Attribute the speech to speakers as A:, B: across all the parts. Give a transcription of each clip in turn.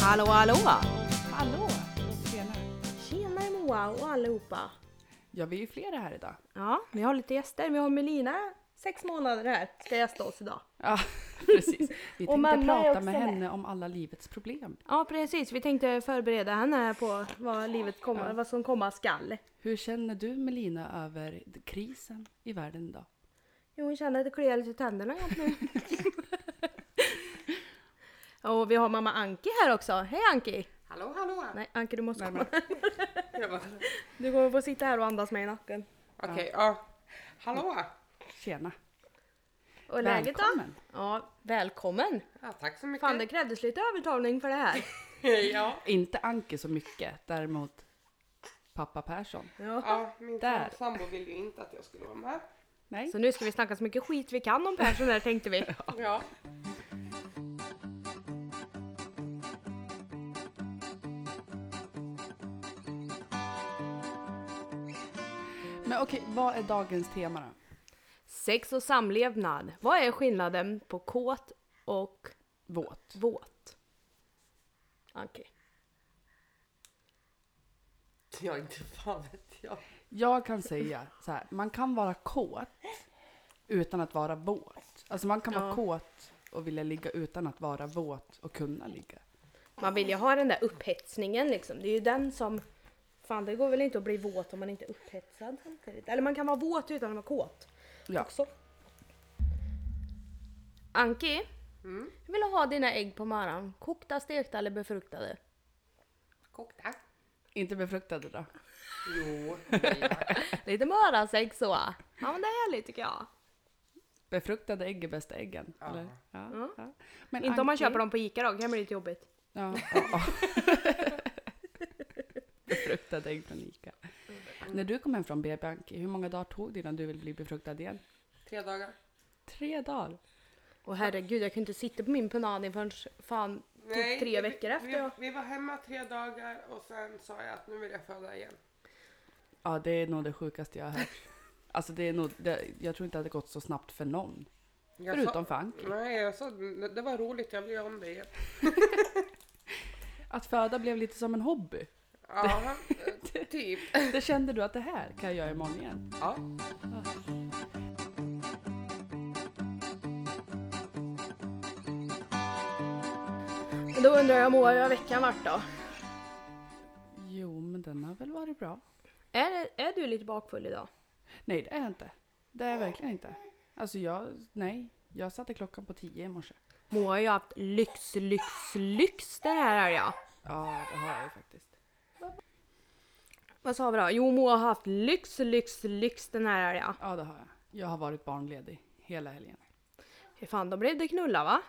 A: Hallå hallå!
B: Hallå! Tjenare.
A: Tjenare Moa och allihopa!
B: Ja, vi är ju flera här idag.
A: Ja, vi har lite gäster. Vi har Melina, sex månader här, ska gästa oss idag.
B: Ja, precis. Vi
A: Och
B: tänkte
A: mamma är
B: prata
A: också
B: med
A: med.
B: henne om alla livets problem.
A: Ja precis, vi tänkte förbereda henne här på vad livet kommer,
B: Ja.
A: vad som komma skall.
B: Hur känner du Melina över d- krisen i världen idag?
A: Jo, hon känner att det kliar lite i tänderna just nu. och vi har mamma Anki här också. Hej Anki!
C: Hallå hallå!
A: Nej Anki du måste komma.
C: Närmare. Jag bara, Okej,
A: Du kommer få sitta här och andas med i nacken.
C: ja. Hallå!
B: Tjena!
A: Och läget då?
B: Välkommen.
A: Ja, välkommen!
C: Ja, tack så mycket.
A: Fan det krävdes lite övertalning för det här.
C: ja.
B: Inte Anke så mycket, däremot pappa Persson.
A: Ja.
C: ja, min
B: Där.
C: sambo ville ju inte att jag skulle vara med.
B: Nej,
A: Så nu ska vi snacka så mycket skit vi kan om Persson där tänkte vi.
C: Ja.
B: men okej, vad är dagens tema då?
A: Sex och samlevnad. Vad är skillnaden på kåt och
B: Våt.
A: våt? Anki.
C: Ja, inte fan vet jag.
B: Jag kan säga så här, man kan vara kåt utan att vara våt. Alltså man kan vara
A: Ja.
B: kåt och vilja ligga utan att vara våt och kunna ligga.
A: Man vill ju ha den där upphetsningen liksom. Det är ju den som... Fan det går väl inte att bli våt om man inte är upphetsad samtidigt. Eller man kan vara våt utan att vara kåt
B: Ja.
A: också. Anki. Hur vill du ha dina ägg på morgonen? Kokta, stekta eller befruktade?
C: Kokta.
B: Inte befruktade då?
C: Jo, Maria.
A: Lite morgonsäck så. Ja men det är härligt tycker jag.
B: Befruktade ägg är bästa äggen.
C: Ja.
B: Eller? Ja, ja. Men
A: Inte om man
B: Anki-
A: köper dem på Ica då, kan bli lite jobbigt.
B: Ja, ja, ja. Befruktade ägg från Ica. När du kom hem från BB, Anki, hur många dagar tog det innan du ville bli befruktad igen?
C: Tre dagar.
B: Tre dagar.
A: Och herregud, jag kunde inte sitta på min punani förrän fan typ tre veckor
C: vi,
A: efter.
C: Vi,
A: jag-
C: vi var hemma tre dagar och sen sa jag att nu vill jag föda igen.
B: Ja, det är nog det sjukaste jag har hört. Alltså, det är nog, det, jag tror inte att det gått så snabbt för någon.
C: Jag
B: Förutom
C: sa,
B: för Anki.
C: Nej, jag sa det det var roligt, jag vill göra om det igen.
B: Att föda blev lite som en hobby.
C: Ja, eh, typ.
B: Det kände du att det här kan jag göra imorgon igen.
C: Ja.
A: Men Då undrar jag Moa, hur har veckan varit då?
B: Jo, men den har väl varit bra.
A: Är, det- är du lite bakfull idag?
B: Nej, det är jag inte. Det är jag verkligen inte. Alltså jag, nej. Jag satte klockan på tio i morse.
A: Moa har ju haft lyx, lyx, lyx den här är jag.
B: Ja, det har jag ju faktiskt.
A: Vad sa vi då? Jo, Moa har haft lyx, lyx, lyx den här är jag.
B: Ja, det har jag. Jag har varit barnledig hela helgen.
A: Fy fan, då blev det knulla va?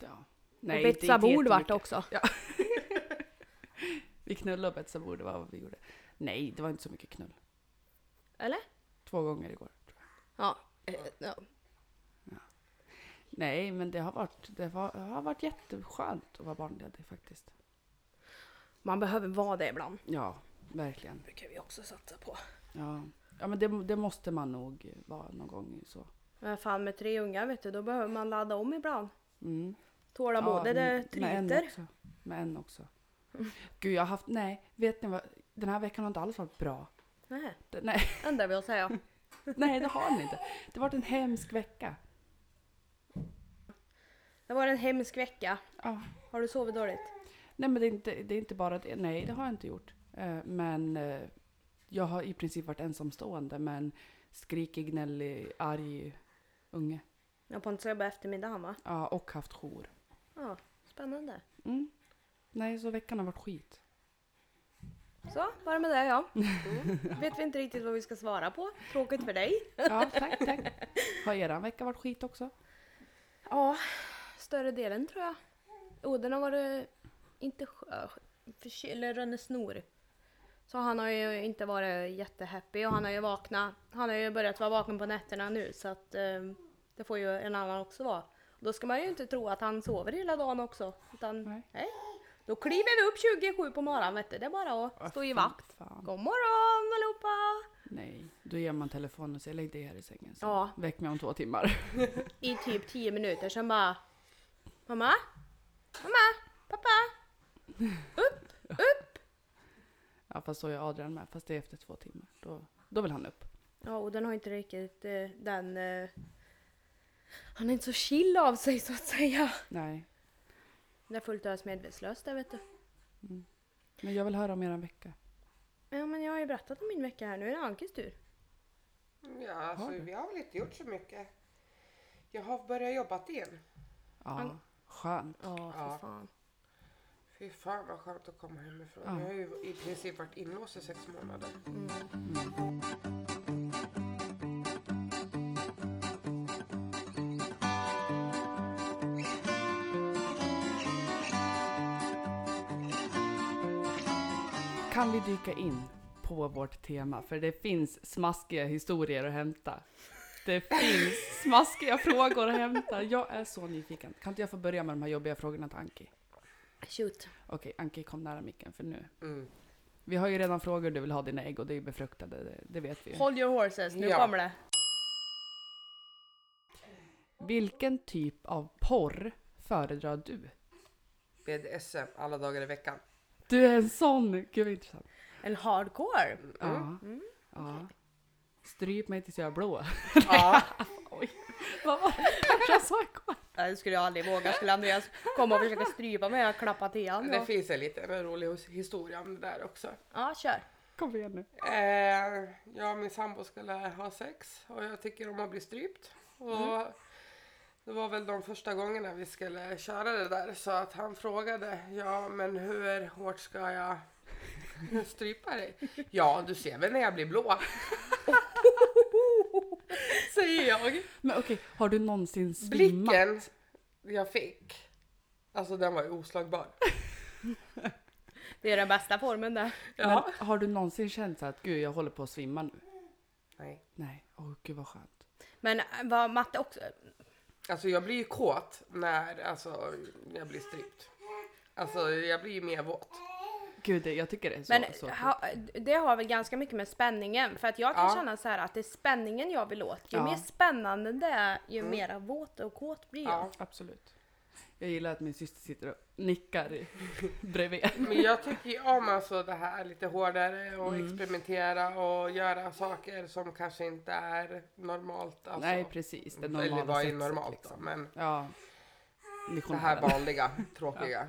B: Ja.
A: och betsa bord vart
B: jättemycket.
A: det också.
B: Vi knullade och betsade bord, det var vad vi gjorde. Nej, det var inte så mycket knull.
A: Eller?
B: Två gånger igår. Tror jag.
A: Ja. Eh, ja.
B: Nej, men det har, varit, det, var, det har varit jätteskönt att vara barnledig faktiskt.
A: Man behöver vara det ibland.
B: Ja, verkligen.
A: Det kan vi också satsa på.
B: Ja, ja men det, det måste man nog vara någon gång. Så.
A: Men fan med tre ungar vet du, då behöver man ladda om ibland.
B: Mm.
A: Tålamodet
B: Ja,
A: det
B: med- Med en
A: tryter.
B: också. Med en också. Gud, jag har haft, nej, vet ni vad? Den här veckan har inte alls varit bra.
A: Nej,
B: Det- Nej,
A: ändrar vi oss säger jag.
B: nej det har den inte. Det har varit en hemsk vecka.
A: Det var en hemsk vecka.
B: Ja.
A: Har du sovit dåligt?
B: Nej, men det är, inte, det är inte bara det. Nej, det har jag inte gjort. Eh, Men eh, jag har i princip varit ensamstående med en skrikig, gnällig, arg unge.
A: Jag Pontus jobbade eftermiddagen va?
B: Ja, och haft jour.
A: Ja, spännande.
B: Mm. Nej, så veckan har varit skit.
A: Så, var det med det ja. Mm. Vet vi inte riktigt vad vi ska svara på. Tråkigt för dig.
B: Ja, tack, tack. Har eran vecka varit skit också?
A: Ja, större delen tror jag. Oden har varit, inte skö- förkyld, eller rönnesnor. Så han har ju inte varit jättehappy och han har ju vaknat, han har ju börjat vara vaken på nätterna nu så att eh, det får ju en annan också vara. Då ska man ju inte tro att han sover hela dagen också. Utan,
B: Nej.
A: nej. Då kliver vi upp 27 på morgonen vet du. Det är bara att stå i vakt.
B: Fan.
A: God morgon allihopa!
B: Nej, då ger man telefonen och säger lägg dig här i sängen. Så.
A: Ja.
B: Väck mig om två timmar.
A: I typ 10 minuter sen bara Mamma? Mamma? Pappa?
B: Ja, fast så är Adrian med. Fast det är efter två timmar. Då, då vill han upp.
A: Ja, och den har inte riktigt eh, den... Eh, han är inte så chill av sig så att säga.
B: Nej.
A: Den är fullt ös medvetslös där vet du.
B: Mm. Men jag vill höra om eran vecka.
A: Ja, men jag har ju berättat om min vecka här. Nu är det Ankes tur.
C: Ja, alltså,
B: Har du?
C: vi har väl inte gjort så mycket. Jag har börjat jobba igen.
B: Ja,
A: Han-
B: skönt.
A: Ja, för
C: Ja.
A: fan.
C: Fy fan vad skönt att komma hemifrån.
B: Ja.
C: Jag har ju i princip varit inlåst i sex månader.
A: Mm.
B: Kan vi dyka in på vårt tema? För det finns smaskiga historier att hämta. Det finns smaskiga frågor att hämta. Jag är så nyfiken. Kan inte jag få börja med de här jobbiga frågorna till Anki?
A: Shoot.
B: Okej, Anki kom nära micken för nu.
C: Mm.
B: Vi har ju redan frågor du vill ha dina ägg och det är ju befruktade, det, det vet vi ju.
A: Hold your horses, nu
C: Ja.
A: kommer det.
B: Vilken typ av porr föredrar du?
C: BDSM alla dagar i veckan.
B: Du är en sån! Gud vad intressant.
A: En hardcore.
C: Mm.
B: Ja. ja. Stryp mig tills jag är blå.
C: Ja.
B: Vad var det första jag sa igår?
A: Nej, Det skulle jag aldrig våga. Skulle Andreas komma och försöka strypa mig och klappa till han
C: Det
A: då.
C: finns en liten rolig his- historia om det där också.
A: Ja, kör.
B: Kom igen nu.
C: Eh, jag och min sambo skulle ha sex och jag tycker om att bli strypt. Och Det var väl de första gångerna vi skulle köra det där så att han frågade ja men hur hårt ska jag strypa dig? Ja du ser väl när jag blir blå. Säger jag.
B: Men okej, har du någonsin svimmat?
C: Blicken jag fick, alltså den var ju oslagbar.
A: Det är den bästa formen där.
C: Ja.
B: Men har du någonsin känt så att gud jag håller på att svimma nu?
C: Nej.
B: Nej, åh gud vad skönt.
A: Men var matte också...
C: Alltså jag blir ju kåt när alltså, jag blir strypt. Alltså jag blir ju mer våt.
B: Gud det- jag tycker det är så.
A: Men
B: så
A: ha, det har väl ganska mycket med spänningen. För att jag kan
C: Ja.
A: känna så här att det är spänningen jag vill åt. Ju
B: Ja.
A: mer spännande det är, ju mera våt och kåt blir jag.
C: Ja.
B: Absolut. Jag gillar att min syster sitter och nickar i- bredvid.
C: Men jag tycker ju om alltså det här lite hårdare och
B: Mm.
C: experimentera och göra saker som kanske inte är normalt. Alltså.
B: Nej precis, det normala
C: Eller vad är
B: sexet,
C: normalt
B: liksom.
C: då? Men
B: Ja.
C: det här vanliga, tråkiga.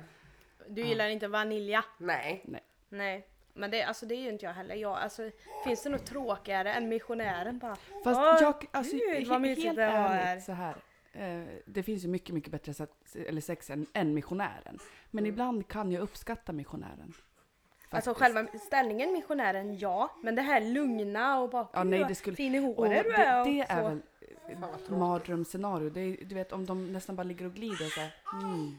A: Du gillar inte vanilja?
C: Nej.
A: Nej. Men det, alltså, det är ju inte jag heller. Jag, alltså, finns det något tråkigare än missionären bara?
B: Fast
A: Åh,
B: jag, alltså
A: gud,
B: he-
A: vad mysigt
B: helt
A: det var här.
B: ärligt så här. Eh, det finns ju mycket, mycket bättre sex, eller sex än, än missionären. Men ibland kan jag uppskatta missionären.
A: Mm. Alltså
B: Faktiskt.
A: själva ställningen missionären, ja. Men det här lugna och bara
B: Ja,
A: "Gud,
B: nej,
A: vad
B: det skulle-
A: fin i
B: Och
A: håret
B: det,
A: du är. och
B: det är
A: så.
B: väl
C: Fan vad tråkigt.
B: mardrömsscenario. Det är, du vet om de nästan bara ligger och glider så här. Mm.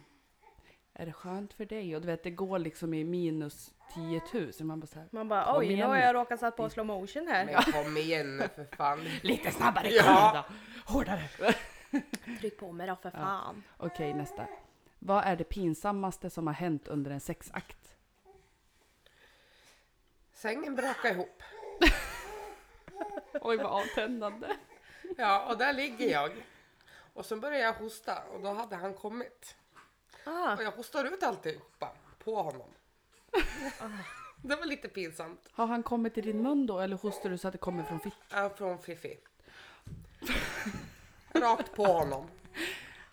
B: Är det skönt för dig? Och du vet det går liksom i minus 10 000. Man bara så här.
A: Man bara
B: Kom
A: oj, nu
B: igen
A: har
B: nu."
A: jag råkat satt
B: Mm.
A: på slow motion här.
C: Men kom igen nu för fan.
B: Lite snabbare
C: Ja.
B: ja. Hårdare!
A: Tryck på mig då för fan.
B: Okej nästa. Vad är det pinsammaste som har hänt under en sexakt?
C: Sängen brakade ihop.
B: Oj vad avtändande.
C: Ja, och där ligger jag. Och sen började jag hosta och då hade han kommit.
A: Ah,
C: Och jag hostar ut alltihopa på honom. Det var lite pinsamt.
B: Har han kommit i din mun då eller hostar du så att det kommer från fitt?
C: Ja, Äh, från Fifi. Rakt på honom.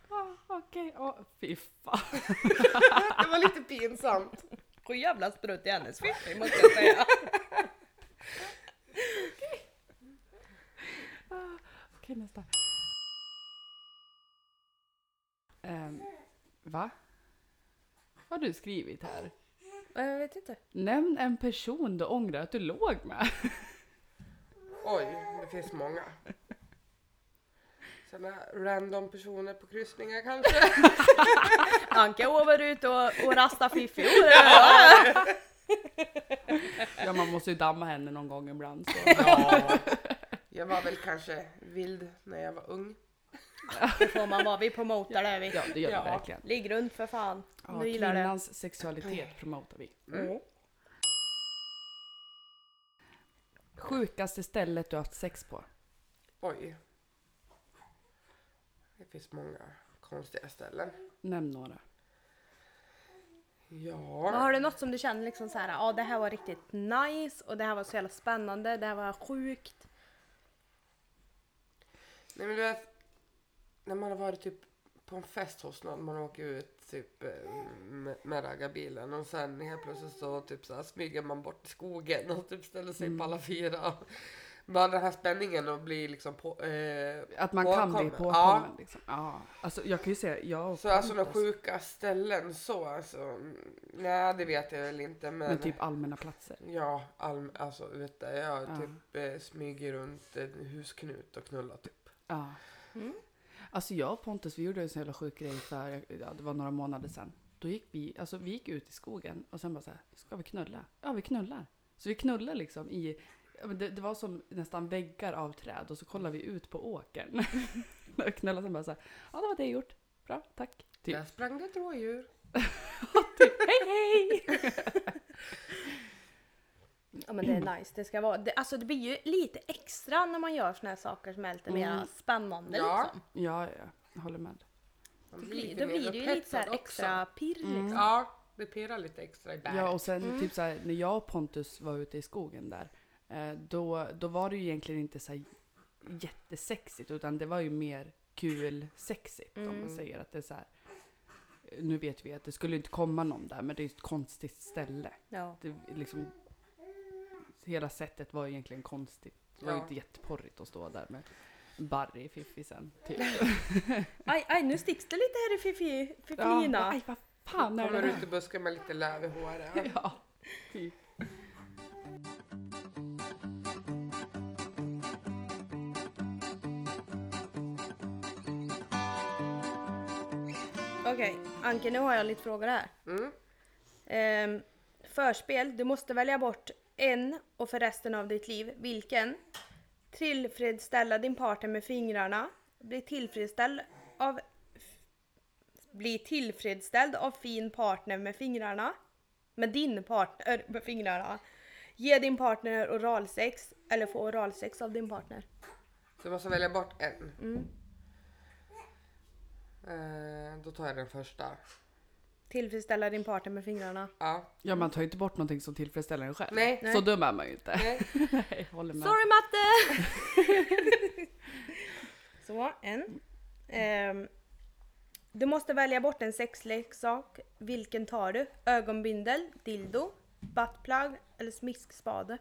B: Ah, Okej, okay. fy fan.
C: Det var lite pinsamt.
A: och jävla strutt i hennes fiffi måste jag säga.
B: Ah, Okej nästa. Ehm, va? Vad har du skrivit här?
A: jag vet inte.
B: Nämn en person du ångrar att du låg med.
C: Oj, det finns många. Såna random personer på kryssningar kanske.
A: Anka over ut och, och rasta fiffi.
B: Ja, man måste ju damma henne någon gång ibland. Så.
C: Ja. Jag var väl kanske vild när jag var ung.
A: Det får man vara, vi promotar det vi.
B: Ja, det gör
C: Ja.
B: vi verkligen.
A: Ligg runt för fan.
B: Ja,
A: du gillar det.
B: kvinnans sexualitet promotar vi.
C: Mm.
B: Sjukaste stället du haft sex på?
C: Oj. Det finns många konstiga ställen.
B: Nämn några.
C: Ja.
A: Men Har du något som du känner liksom så här, ja det här var riktigt nice och det här var så jävla spännande, det här var sjukt.
C: Nej men du vet, när man har varit typ på en fest hos någon, man åker ut typ eh, med, med raggarbilen och sen helt plötsligt så typ så här, smyger man bort i skogen och typ ställer sig på alla fyra. Bara den här spänningen och blir liksom på... Eh,
B: Att man kan bli
C: Påkommen.
B: påkommen.
C: Ja.
B: Liksom. ja. Alltså, jag kan ju säga, jag har
C: så alltså några sjuka ställen så alltså. mm, Nej det vet jag väl inte men...
B: Men typ allmänna platser.
C: Ja, all, alltså ute. Jag
B: Ja.
C: typ eh, smyger runt en husknut och knullar typ.
B: Ja. Alltså jag och Pontus, vi gjorde en så jävla sjuk grej för, ja, det var några månader sedan. Då gick vi, alltså vi gick ut i skogen och sen bara så här, ska vi knulla? Ja, vi knullar. Så vi knullar liksom i, ja, men det, det var som nästan väggar av träd och så kollar vi ut på åkern. och knullar sen bara så här, ja det var det jag gjort. Bra, tack. Typ.
C: Där sprang det ett rådjur.
B: Hej hej!
A: Ja men det är nice, det ska vara, det, alltså det blir ju lite extra när man gör såna här saker som är lite
B: Mm.
A: mer spännande
C: Ja.
A: liksom.
B: Ja, ja, jag håller med.
C: Man
A: Då
C: blir
A: blir,
C: lite
A: då blir det ju lite så här
C: nerupphetsad också.
A: extra pirr
B: Mm.
A: liksom.
C: Ja, det pirrar lite extra i bäret.
B: Ja, och sen
C: Mm.
B: typ så här, när jag och Pontus var ute i skogen där, eh, då, då var det ju egentligen inte så här jättesexigt, utan det var ju mer kul sexigt om
C: Mm.
B: man säger att det är så här. Nu vet vi att det skulle inte komma någon där, men det är ju ett konstigt ställe.
A: Ja.
B: Det, är liksom, hela sättet var ju egentligen konstigt. Det var ju
C: Ja.
B: inte jätteporrigt att stå där med Barry i fiffisen. Typ.
A: Aj, aj, nu sticks det lite här i fifi, fifilina.
B: aj, vad fan är det
C: Kommer
B: där?
C: ut i busken med lite löv i håret.
B: Ja, typ.
A: Okej, Anke nu har jag lite frågor här.
C: Mm.
A: Ehm, förspel, du måste välja bort en och för resten av ditt liv. Vilken? Tillfredsställa din partner med fingrarna. Bli tillfredsställd av... f- Bli tillfredsställd av fin partner med fingrarna. Med din partner med fingrarna. Ge din partner oralsex eller få oralsex av din partner.
C: Så jag måste välja bort en. Eh, då tar jag den första.
A: Tillfredsställa din partner med fingrarna.
C: Ja.
B: Ja, man tar ju inte bort någonting som tillfredsställer en själv.
C: Nej.
B: Så dum är man ju inte.
C: Nej.
B: Nej, håller med.
A: Sorry matte! Så, en. Ehm, du måste välja bort en sexleksak. Vilken tar du? Ögonbindel, dildo, buttplug eller smiskspade?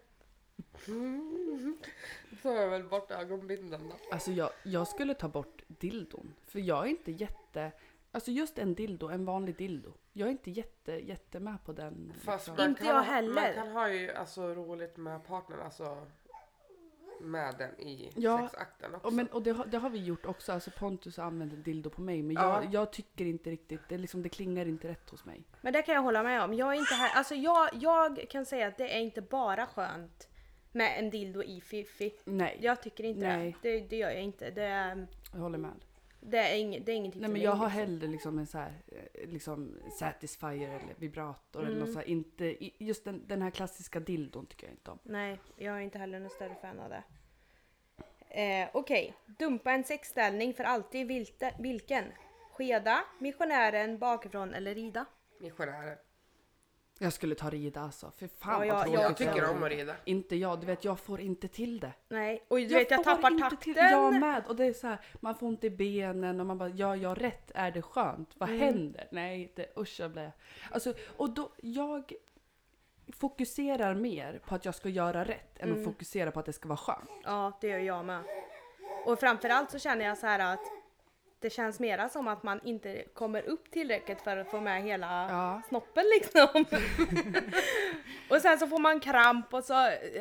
C: Då tar jag väl bort ögonbindeln då.
B: Alltså jag, jag skulle ta bort dildon. För jag är inte jätte... Alltså just en dildo, en vanlig dildo. Jag är inte jätte, jätte med på den.
C: Fast
B: liksom.
C: man
A: Inte jag
C: kan ha-
A: heller.
C: Man kan ha ju alltså roligt med partnern. Alltså med den i
B: Ja.
C: sexakten också.
B: och men, och det, har- det har vi gjort också. Alltså Pontus har använt en dildo på mig. Men
C: Ja.
B: jag, jag tycker inte riktigt, det, är liksom, det klingar inte rätt hos mig.
A: Men det kan jag hålla med om. Jag, är inte här, alltså jag, jag kan säga att det är inte bara skönt med en dildo i fiffi.
B: Nej, jag,
A: Jag tycker inte
B: Nej.
A: det. det. Det gör jag inte. Det, är-
B: håller med.
A: det, är, ing, det är ingenting
B: Nej
A: för
B: men
A: mig,
B: jag har
A: liksom.
B: hellre liksom en så här, eh, liksom satisfier eller vibrator eller
C: Mm.
B: något så här, inte, i- just den, den här klassiska dildon tycker jag inte om.
A: Nej, jag är inte heller någon större fan av det. Eh, Okej, dumpa en sexställning för alltid. Vilte, vilken? Skeda, missionären, bakifrån eller rida?
C: Missionärer.
B: Jag skulle ta rida alltså, för fan
A: Ja, jag-
B: vad tråkigt.
A: jag
C: Jag tycker om att rida.
B: Inte jag, du vet jag får inte till det.
A: Nej, och du vet jag
B: får
A: tappar
B: inte
A: takten.
B: Till, jag med! Och det är så här, man får ont i benen och man bara, ja jag har rätt, är det skönt? Vad
A: Mm.
B: händer? Nej, det, usch jag blir... Alltså, och då, jag fokuserar mer på att jag ska göra rätt än
A: Mm.
B: att fokusera på att det ska vara skönt.
A: Ja, det gör jag med. Och framförallt så känner jag så här att det känns mera som att man inte kommer upp tillräckligt för att få med hela
B: Ja.
A: snoppen liksom. och sen så får man kramp och så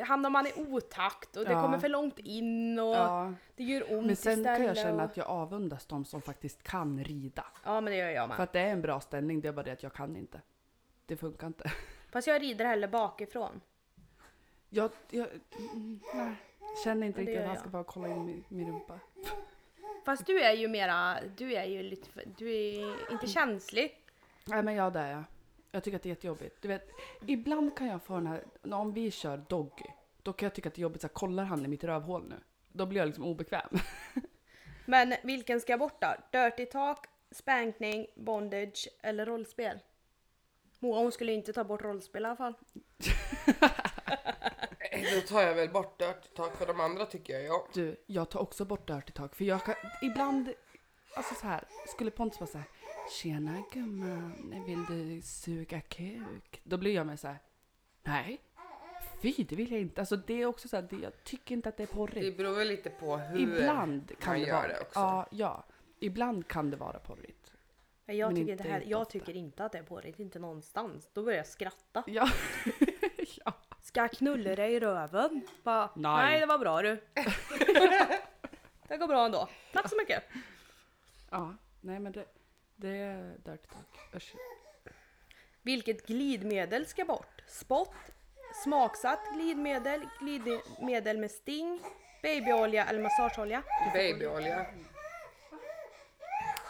A: hamnar man i otakt och det
B: Ja.
A: kommer för långt in och
B: Ja.
A: det gör ont
B: Men sen kan jag
A: istället
B: känna
A: och-
B: att jag avundas de som faktiskt kan rida.
A: Ja men det gör jag med.
B: För att det är en bra ställning, det är bara det att jag kan inte. Det funkar inte.
A: Fast jag rider hellre bakifrån.
B: Jag, jag mm, nej, känner inte
A: Ja, det gör
B: riktigt att han
A: jag.
B: ska bara kolla in min, min rumpa.
A: Fast du är ju mera, du är ju lite, för- du är inte känslig.
B: Nej men ja det är jag. Jag tycker att det är jättejobbigt. Du vet, ibland kan jag få den här, om vi kör doggy, då kan jag tycka att det är jobbigt, så här, kollar han i mitt rövhål nu? Då blir jag liksom obekväm.
A: Men vilken ska bort då? Dirty talk, spankning, bondage eller rollspel? Moa hon skulle inte ta bort rollspel i alla fall.
C: Då tar jag väl bort Dirty Talk för de andra tycker jag ja.
B: Du, jag tar också bort Dirty Talk för jag kan, ibland, alltså så här, skulle Pontus vara så här, tjena gumman, vill du suga kuk? Då blir jag med så här, nej, fy det vill jag inte. Alltså det är också så här, det, jag tycker inte att det är
C: Det
B: porrigt.
C: beror väl lite på hur...
B: Ibland kan
C: man
B: det
C: gör
B: vara
C: det också.
B: Ja, ja, ibland kan det vara porrigt.
A: Men jag,
B: Men
A: tycker,
B: inte
A: det här, jag
B: jätteofta.
A: tycker inte att det är porrigt, inte någonstans. Då börjar jag skratta.
B: Ja, ja.
A: Ska jag knulla dig i röven? Bara, nej.
B: Nej.
A: det var bra du. det går bra ändå. Tack så mycket.
B: ja. nej men det, det är Dirty Talk. Usch.
A: Vilket glidmedel ska bort? Spott, smaksatt glidmedel, glidmedel med sting, babyolja eller massageolja?
C: Babyolja.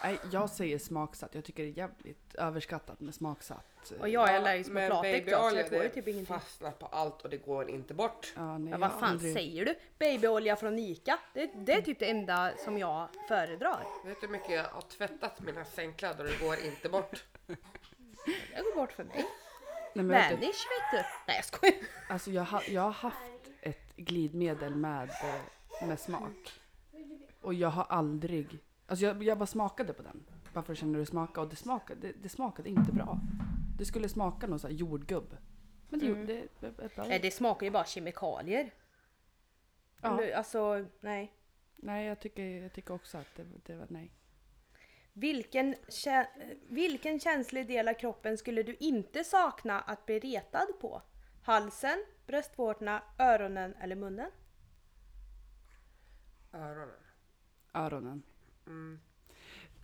B: Nej, jag säger smaksatt. Jag tycker det är jävligt överskattat med smaksatt.
A: Och jag är allergisk mot
C: men
A: latex då, så jag
C: babyolja,
A: tål ju
C: det
A: typ ingenting.
C: fastnar på allt och det går inte bort.
B: Ja, nej,
A: Ja,
B: jag
A: vad fan
B: aldrig-
A: säger du? Babyolja från Ica? Det, det är typ det enda som jag föredrar.
C: Vet du hur mycket jag har tvättat mina sängkläder och det går inte bort?
A: Det går bort för mig.
B: Nej, men vet du,
A: Vanish vet du. Nej jag skojar.
B: Alltså jag, ha, jag har haft ett glidmedel med, eh, med smak. Och jag har aldrig... Alltså jag, jag bara smakade på den. Varför känner du smaka? Och det smakade, det, det smakade inte bra. Det skulle smaka någon sån här jordgubb. Men det gjorde
C: Mm.
B: det, det, det,
A: Nej det smakar ju bara kemikalier.
B: ja.
A: Eller, Alltså nej.
B: Nej, jag tycker, jag tycker också att det, det var nej.
A: Vilken, kä- vilken känslig del av kroppen skulle du inte sakna att bli retad på? Halsen, bröstvårtorna, öronen eller munnen?
C: Öronen.
B: Öronen.
C: Mm.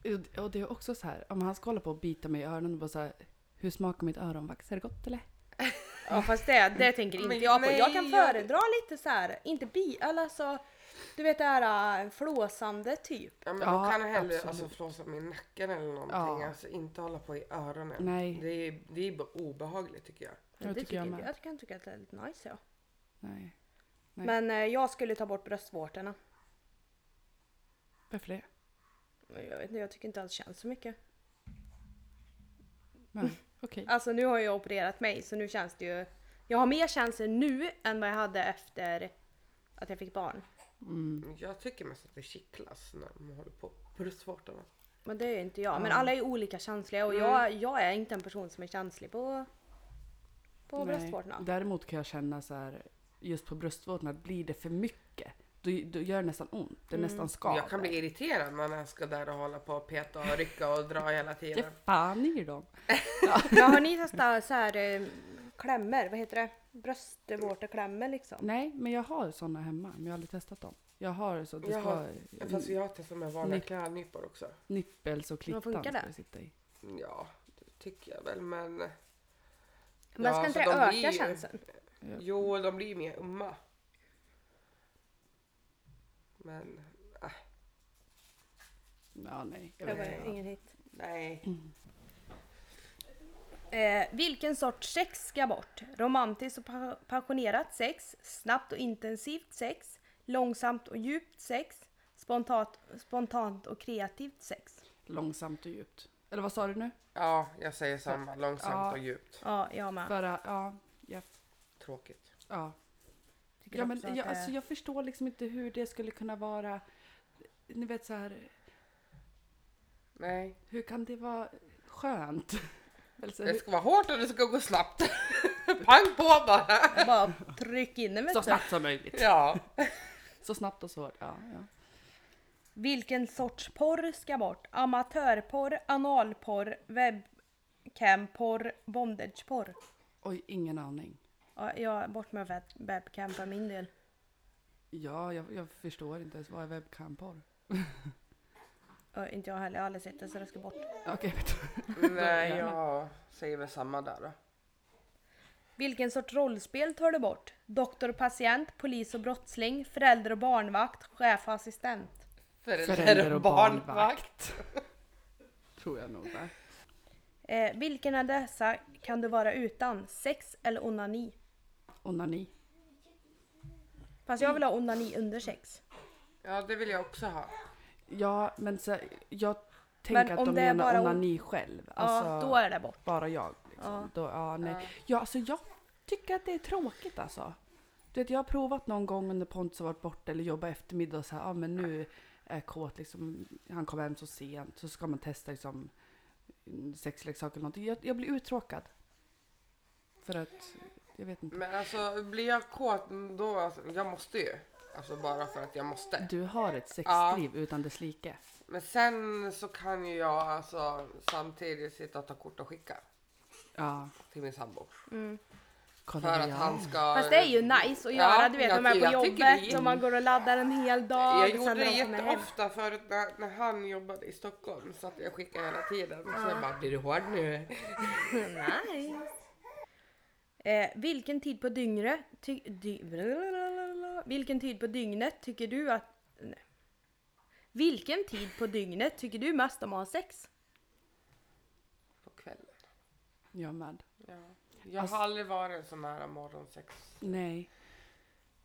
B: Och- Och det är också så här, om han ska hålla på och bita mig i öronen och bara så här, hur smakar mitt öronvax? Är det gott eller?
A: Ja fast det, det tänker inte
C: Men
A: jag på. Jag
C: nej,
A: kan
C: jag-
A: föredra lite så här, inte bi, eller alltså du vet det här äh, flåsande typ.
C: Ja men
B: Ja,
C: då kan jag hellre
B: absolut.
C: alltså, flåsa mig i nacken eller någonting.
B: Ja.
C: Alltså inte hålla på i öronen.
B: Nej.
C: Det är, det är bara obehagligt tycker jag.
B: Ja,
A: det
B: tycker jag
A: jag,
B: med.
A: jag kan tycka att det är lite nice ja.
B: Nej. Nej.
A: Men eh, jag skulle ta bort bröstvårtorna.
B: Varför det?
A: Jag vet inte, jag tycker inte alls känns så mycket.
B: Nej. Okej.
A: Alltså nu har jag opererat mig så nu känns det ju... Jag har mer känslor nu än vad jag hade efter att jag fick barn.
C: Jag tycker mest att det kittlas när man håller på bröstvårtorna.
A: Men det är ju inte jag. Men alla är olika känsliga
B: Mm.
A: och jag, jag är inte en person som är känslig på, på
B: Nej.
A: bröstvårtorna.
B: Däremot kan jag känna så här, just på bröstvårtorna, blir det för mycket, då, då gör det nästan ont. Det är
A: Mm.
B: nästan skaver.
C: Jag kan bli irriterad när jag ska där och hålla på och peta och rycka och dra hela
B: Ge
C: tiden.
B: fan i dem.
A: Ja, har ni testat så här eh, klämmer? Vad heter det? Bröstvårteklämmer liksom.
B: Nej, men jag har sådana hemma, men jag har aldrig testat dem. Jag har så, det
C: Jag
B: ska
C: har, fast jag har testat med vanliga
B: Nytt.
C: klädnypor också.
B: nippels och klittan
A: Vad funkar
B: ska
A: det?
B: det sitta i.
C: Ja, det tycker jag väl men...
A: Men ska
C: Ja,
A: inte
C: så
A: det
C: de
A: öka
C: blir ju-
A: känslan?
C: Jo, de blir mer umma. Men... Äh,
B: Ja, nej. jag
A: Det
B: vet
A: var
B: inte.
A: ingen hit.
C: nej.
A: Eh, vilken sorts sex ska bort? Romantiskt och pa- passionerat sex, snabbt och intensivt sex, långsamt och djupt sex, spontant, spontant och kreativt sex.
B: Långsamt och djupt. Eller vad sa du nu?
C: Ja, jag säger samma. Långsamt
B: Ja.
C: och djupt.
A: Ja, jag med.
B: Bara, ja, ja,
C: Tråkigt.
B: ja.
A: Tycker
B: ja men
A: också att
B: jag,
A: det-
B: alltså, jag förstår liksom inte hur det skulle kunna vara, ni vet så här,
C: Nej.
B: hur kan det vara skönt? Eller så,
C: Det
B: hur,
C: ska vara hårt och det ska gå snabbt. Pang på bara!
A: Bara tryck in den vet
B: så
A: du.
B: snabbt som möjligt.
C: Ja.
B: Så snabbt och så hårt. Ja, ja.
A: Vilken sorts porr ska bort? Amatörporr, analporr, webcamporr, bondageporr.
B: Oj, ingen aning.
A: Ja, jag bort med web- webcam för min del.
B: Ja, jag, jag förstår inte ens. Vad är webcam-porr?
A: Ja, inte jag heller, jag har aldrig sett det så det ska bort.
B: Okej, vet
C: Nej, jag säger väl samma där då.
A: Vilken sorts rollspel tar du bort? Doktor och patient, polis och brottsling, förälder och barnvakt, chef och assistent.
C: Förälder,
B: Förälder och
C: och
B: barnvakt.
C: barnvakt.
B: Tror jag nog. Va?
A: Eh, vilken av dessa kan du vara utan? Sex eller onani?
B: Onani.
A: Fast jag vill ha onani under sex.
C: Ja, det vill jag också ha.
B: Ja, men så, jag tänker
A: Men
B: att
A: om
B: de
A: det är
B: menar
A: bara on-
B: onani själv.
A: Ja,
B: Alltså,
A: då är det bort.
B: bara jag. Liksom. liksom.
A: Ja.
B: Då, ja, nej. Ja, alltså jag tycker att det är tråkigt alltså. Du vet, jag har provat någon gång under Pontus har varit borta eller jobbat eftermiddag och så här, ja men nu är jag kåt liksom, han kommer hem så sent, så ska man testa liksom sexleksaker eller någonting. Jag, jag blir uttråkad. För att, jag vet inte.
C: Men alltså blir jag kåt då, alltså, jag måste ju. Alltså bara för att jag måste.
B: Du har ett sexliv utan dess like.
C: Men sen så kan ju jag alltså samtidigt sitta och ta kort och skicka
B: Ja,
C: till min sambo.
B: kolla
C: För
B: det
C: att
B: jag
C: han
B: har.
C: ska...
A: Fast det är ju nice att
C: Ja,
A: göra, du vet
C: jag
A: när man är
C: ty- jag
A: på
C: tycker det är
A: jobbet och man går och laddar en hel dag.
C: Jag
A: och sen
C: gjorde
A: när
C: det
A: de kommer hem.
C: jätteofta förut när, när han jobbade i Stockholm så att jag skickade hela tiden. Så jag bara, blir du hård nu?
A: Nej. Eh, vilken tid på dygnet... Ty, dy, vilken tid på dygnet tycker du att... Nej. Vilken tid på dygnet tycker du mest om att ha sex?
C: På kvällen.
B: Jag med.
C: Ja. Jag
B: Alltså-
C: har aldrig varit så nära morgonsex.
B: Nej.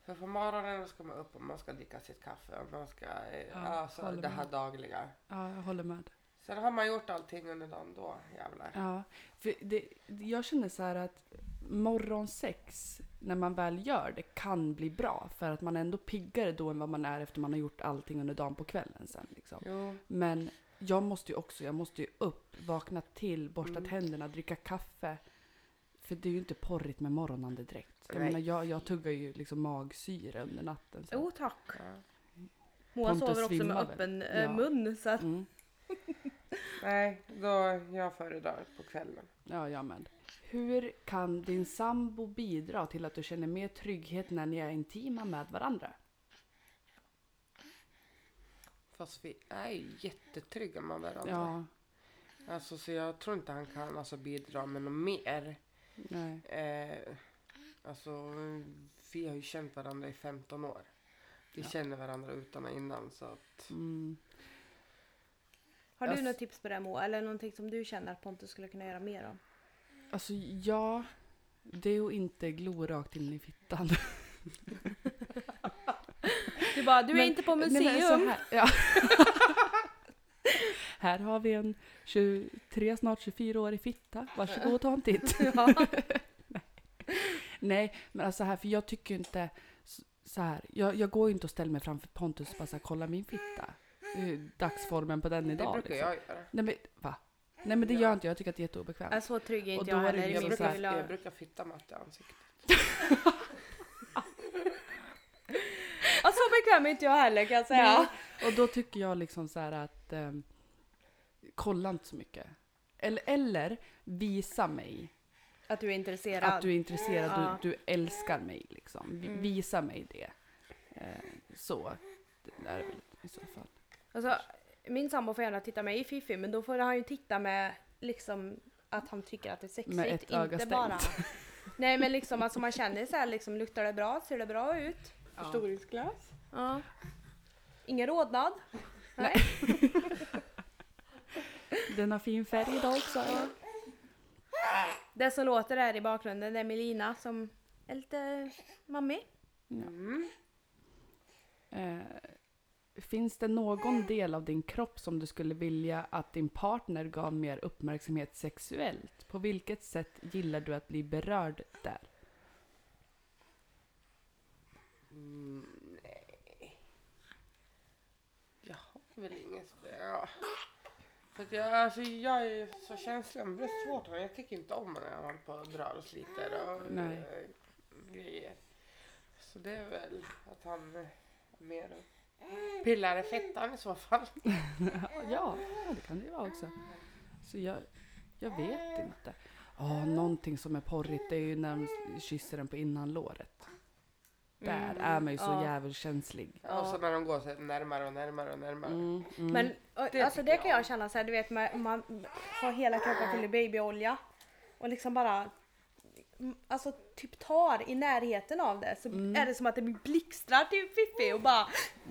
C: För på morgonen då ska man upp och man ska dricka sitt kaffe och man ska, eh,
B: Ja,
C: alltså
B: håller
C: det här
B: med.
C: dagliga.
B: Ja, jag håller med.
C: Sen har man gjort allting under dagen då, jävlar.
B: Ja, för det, jag känner så här att morgonsex, när man väl gör det, kan bli bra. För att man är ändå piggare då än vad man är efter man har gjort allting under dagen på kvällen sen. Liksom.
C: Jo.
B: Men jag måste ju också, jag måste ju upp, vakna till, borsta tänderna, dricka kaffe. För det är ju inte porrigt med morgonande direkt. Jag
C: Nej.
B: menar, jag, jag tuggar ju liksom magsyra under natten. Så.
A: Jo oh, tack.
C: Ja.
A: Moa
B: Pontus
A: sover också med
B: svimmar väl?
A: öppen eh,
B: Ja.
A: mun så att...
B: Mm.
C: Nej, då jag föredrar på kvällen.
B: Ja, jag med. Hur kan din sambo bidra till att du känner mer trygghet när ni är intima med varandra?
C: Fast vi är ju jättetrygga med varandra.
B: Ja,
C: Alltså, så jag tror inte han kan alltså, bidra med något mer.
B: nej.
C: Eh, alltså, vi har ju känt varandra i 15 år. Vi känner varandra utan och innan. Så att,
B: Mm.
A: Har du
B: Jag s-
A: några tips på det här, Moa? Eller någonting som du känner att Pontus skulle kunna göra mer om?
B: Alltså, ja. Det är att inte glo rakt in i fittan.
A: Du bara, du är
B: Men-
A: inte på
B: Nej, men så
A: museum.
B: här, ja. här har vi en 23, snart 24-årig fitta. Varsågod och ta en titt. Nej. Nej, men alltså här, för jag tycker ju inte s- så här. Jag, jag går ju inte och ställer mig framför Pontus och bara så här, kolla min fitta. Eh, Dagsformen på den
C: det
B: idag.
C: brukar
B: liksom.
C: jag göra.
B: Nej men va? Nej men det gör jag inte jag. tycker att det är jätteobekvämt.
A: Nej, så trygg är
B: Och
A: inte
B: då
A: jag
B: är det
A: heller.
B: ju
A: Jag
C: Jag
B: så
A: brukar
B: här-
A: vilja...
C: brukar, jag brukar fitta matte i ansiktet.
A: Ja, Alltså, så bekväm är inte jag heller kan jag säga.
B: Nej. Och då tycker jag liksom så här att ehm, kolla inte så mycket. Eller, eller visa mig
A: Att du är intresserad.
B: att du är intresserad,
A: Ja.
B: du, du älskar mig liksom. Vi-
A: Mm.
B: Visa mig det. Eh, så. Det är väl i så fall.
A: Alltså, min sambo får gärna titta mig i fiffi men då får han ju titta med liksom att han tycker att det är sexigt.
B: Med ett öga
A: inte
B: stängt.
A: bara. Nej men liksom alltså man känner så här liksom luktar det bra, ser det bra ut?
C: Förstoringsglas?
A: Ja. Ingen rodnad? Nej.
B: Den har fin färg idag också.
A: Det som låter där i bakgrunden det är Melina som är lite mammi.
C: Mm.
B: Eh, finns det någon del av din kropp som du skulle vilja att din partner gav mer uppmärksamhet sexuellt? På vilket sätt gillar du att bli berörd där?
C: Mm, nej. Jag har väl inget... Ja. För att jag, alltså, jag är ju så känslig. Men det är svårt. Jag tycker inte om när jag håller på och drar och sliter och
B: Nej.
C: eh, grejer. Så det är väl att han eh, mer pillar i fettan i så fall.
B: Ja, ja, det kan det ju vara också. Så jag, jag vet inte. Ja, någonting som är porrigt det är ju när de kysser den på innanlåret. Där är man ju så
A: ja.
B: djävulskänslig.
C: Och så när de går så här närmare och närmare och närmare.
B: Mm, mm.
A: Men det
C: Det
A: alltså
C: tycker
A: det kan jag känna så här, du vet man, om man har hela kroppen full i babyolja och liksom bara mm, Alltså typ tar i närheten av det så är det som att det blir blixtrar till Fiffi och bara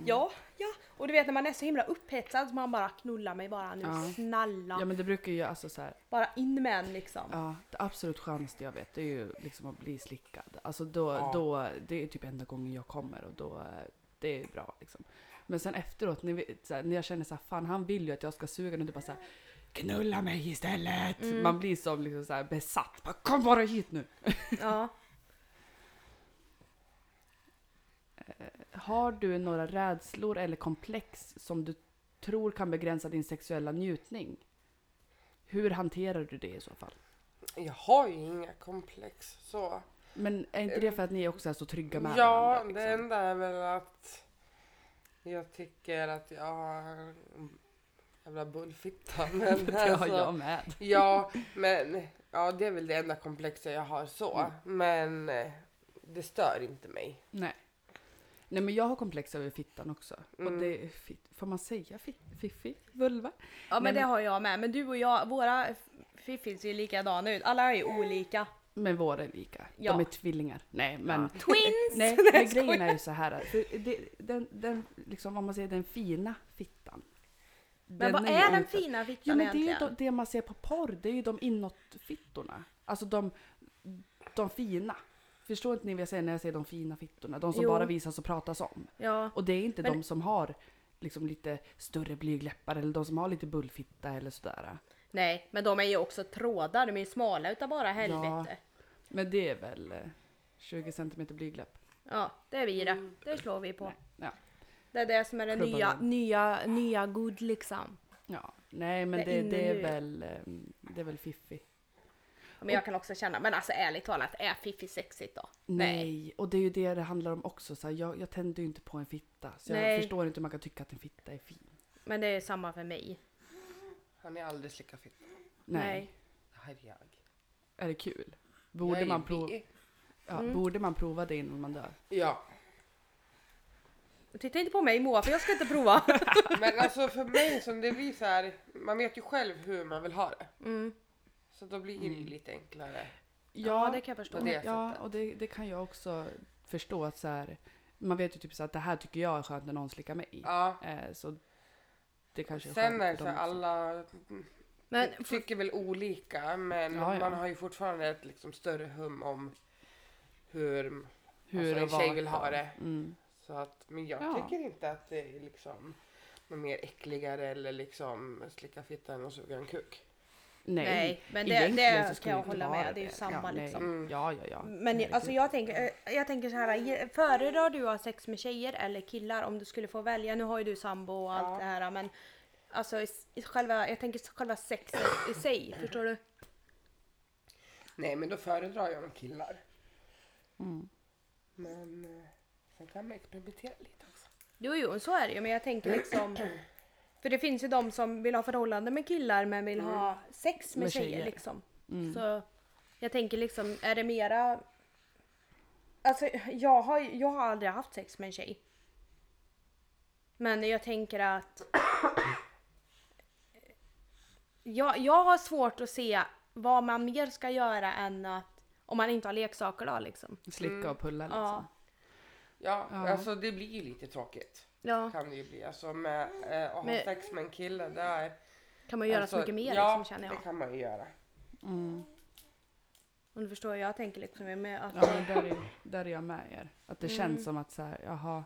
A: ja, ja. Och du vet när man är så himla upphetsad så man bara knulla mig bara nu,
B: Ja.
A: snälla.
B: Ja men det brukar ju alltså så här,
A: Bara in med en liksom.
B: ja det absolut skönaste jag vet det är ju liksom att bli slickad. Alltså då,
C: Ja.
B: då, det är typ enda gången jag kommer och då, eh, det är bra liksom. Men sen efteråt när, vi, så här, när jag känner så här, fan han vill ju att jag ska suga den, du bara så här, knulla mig istället. Man blir som liksom så här besatt. Bara, Kom bara hit nu.
A: Ja.
B: Har du några rädslor eller komplex som du tror kan begränsa din sexuella njutning? Hur hanterar du det i så fall?
C: Jag har ju inga komplex så.
B: Men är inte det för att ni också är så trygga med
C: Ja,
B: varandra?
C: det
B: liksom?
C: enda är väl att jag tycker att jag har en jävla bullfitta. Men
B: det har
C: alltså,
B: jag med.
C: Ja, men ja, det är väl det enda komplexet jag har så.
B: Mm.
C: Men eh, det stör inte mig.
B: Nej. Nej men jag har komplex över fittan också. Och
C: Mm.
B: det är fit, får man säga fit, fiffi? Vulva?
A: Ja men
B: Nej,
A: det
B: men-
A: har jag med. Men du och jag, våra f- fiffis är ju likadana ut. Alla är ju olika.
B: Men våra är lika.
A: Ja.
B: De är tvillingar. Nej men.
A: Twins! Nej,
B: Nej, men
A: jag
B: grejen
A: skojar.
B: är ju så här att för det, den, den, liksom vad man säger, den fina fittan.
A: Men vad
B: ju
A: är den
B: inte-
A: fina fittan
B: Ja, men det är ju
A: egentligen?
B: de, det man ser på porr, det är ju de inåtfittorna. Alltså de, de fina. Förstår inte ni vad jag säger när jag säger de fina fittorna? De som
A: Jo.
B: bara visas och pratas om.
A: Ja.
B: Och det är inte
A: Men-
B: de som har liksom lite större blygläppar eller de som har lite bullfitta eller sådär.
A: Nej, men de är ju också trådar. De är ju smala utav bara helvete.
B: Men det är väl eh, 20 cm blygläpp?
A: Ja. det är vi det. Det slår vi på.
B: Nej. Ja.
A: Det är det som är det
B: Klubban
A: nya,
B: av.
A: nya, nya good liksom.
B: ja. Nej men
A: Det är
B: det,
A: inne
B: det, är
A: nu.
B: väl, ehm, det är väl fiffi.
A: Men jag kan också känna, men alltså ärligt talat, är fiffi sexigt då?
B: Nej, och det är ju det det handlar om också. Så här, jag, jag tänder ju inte på en fitta. Så
A: Nej.
B: jag förstår inte hur man kan tycka att en fitta är fin.
A: Men det är samma för mig.
C: Han är alldeles lika fitt.
B: Nej.
C: Det här är jag.
B: Är det kul? Borde,
C: jag är
B: man, prova,
C: bi.
B: ja,
A: Mm.
B: borde man prova det innan man dör?
C: Ja.
A: Nej. Titta inte på mig Moa, för jag ska inte prova.
C: Men alltså för mig som det blir så här, man vet ju själv hur man vill ha det.
A: Mm.
C: Så då blir det
B: Mm.
C: ju lite enklare.
A: Ja, det kan jag förstå.
C: på det
B: ja,
C: sättet.
B: och det, det kan jag också förstå att så här, man vet ju typ så att det här tycker jag är skönt när någon slickar mig.
C: Ja.
B: Eh, så det kanske är
C: Sen
B: skönt
C: är det
B: för
C: så
B: dem
C: här,
B: också.
C: alla
A: Men
C: tycker väl olika men
B: Ja, ja.
C: man har ju fortfarande ett liksom större hum om hur,
B: Hur
C: alltså, en
B: och
C: tjej
B: vart
C: vill ha
B: och-
C: det.
B: Mm.
C: Så att, men jag
B: Ja.
C: tycker inte att det är liksom något mer äckligare eller liksom slicka fittan och suga en kuk.
B: Nej,
A: Nej, men det-
B: egentligen
A: det
B: så skulle
A: kan jag
B: inte
A: hålla
B: vara
A: med. Det är ju samma
B: ja, nej.
A: liksom.
C: Mm.
B: Ja, ja, ja.
A: Men alltså jag tänker, eh, jag tänker så här, ge- föredrar du att ha sex med tjejer eller killar om du skulle få välja? Nu har ju du sambo och allt
C: Ja.
A: det här men alltså i s- i själva, jag tänker själva sexet i sig, förstår du?
C: Nej men då föredrar jag de killar.
B: Mm.
C: Men eh, sen kan man experimentera lite också.
A: Jo, jo, så är det ju men jag tänker liksom för det finns ju de som vill ha förhållande med killar men vill ha sex med,
B: Med
A: tjejer,
B: tjejer.
A: liksom. Så jag tänker liksom, är det mera... Alltså jag har, jag har aldrig haft sex med en tjej. Men jag tänker att... jag, jag har svårt att se vad man mer ska göra än att... Om man inte har leksaker då liksom.
B: Slicka och pulla liksom.
A: Ja.
C: Ja,
B: Ja.
C: alltså det blir ju lite tråkigt.
A: Ja,
C: Kan det ju bli. Alltså med eh, att ha
A: Men-
C: sex med en kille där.
A: kan man göra
C: alltså,
A: så mycket mer
C: ja,
A: liksom känner jag.
C: det kan man ju göra.
B: Mm.
A: Om du förstår vad jag tänker liksom. Med att,
B: Ja, men där, är, där är jag med er. Att det
A: Mm.
B: känns som att så här, jaha.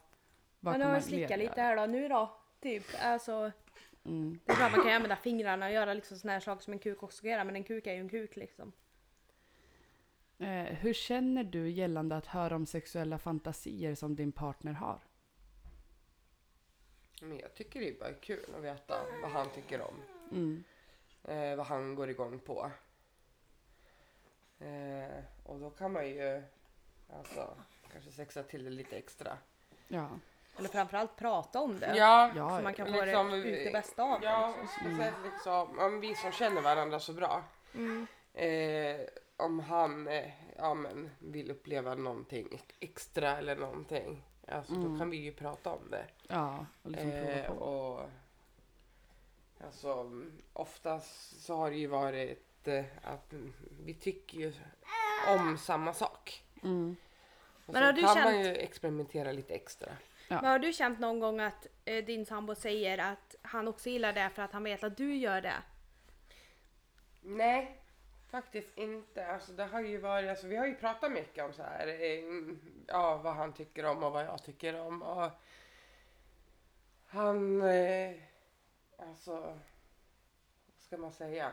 A: men
B: Vad kan
A: nu har
B: man
A: jag slickat
B: mer
A: lite
B: göra?
A: här då, nu då. Typ, alltså.
B: Mm.
A: Det är klart man kan ju använda fingrarna och göra liksom såna här saker som en kuk också kan göra, men en kuk är ju en kuk liksom.
B: Eh, hur känner du gällande att höra om sexuella fantasier som din partner har?
C: Men jag tycker det är bara kul att veta vad han tycker om.
B: Mm.
C: Eh, vad han går igång på. Eh, och då kan man ju alltså kanske sexa till det lite extra.
B: Ja.
A: Eller framförallt prata om det.
C: Ja,
B: Ja,
A: Så man kan få
C: Liksom,
A: det ut det bästa av det.
C: Ja, speciellt liksom, om vi som känner varandra så bra. Mm. Eh, om han eh, ja, men, vill uppleva någonting extra eller någonting. Alltså, Då kan vi ju prata om det.
B: ja, och liksom
C: Eh,
B: prova på.
C: och, alltså, mm, oftast så har det ju varit eh, att mm, vi tycker ju om samma sak.
B: Mm.
C: Och
A: Men
C: så
A: har du
C: kan man
A: känt-
C: ju experimentera lite extra.
A: Men har du känt någon gång att eh, din sambo säger att han också gillar det för att han vet att du gör det?
C: Nej, faktiskt inte. Alltså, det har ju varit, alltså, vi har ju pratat mycket om så här, eh, ja, vad han tycker om och vad jag tycker om. Och han... Eh, alltså... Vad ska ska man säga?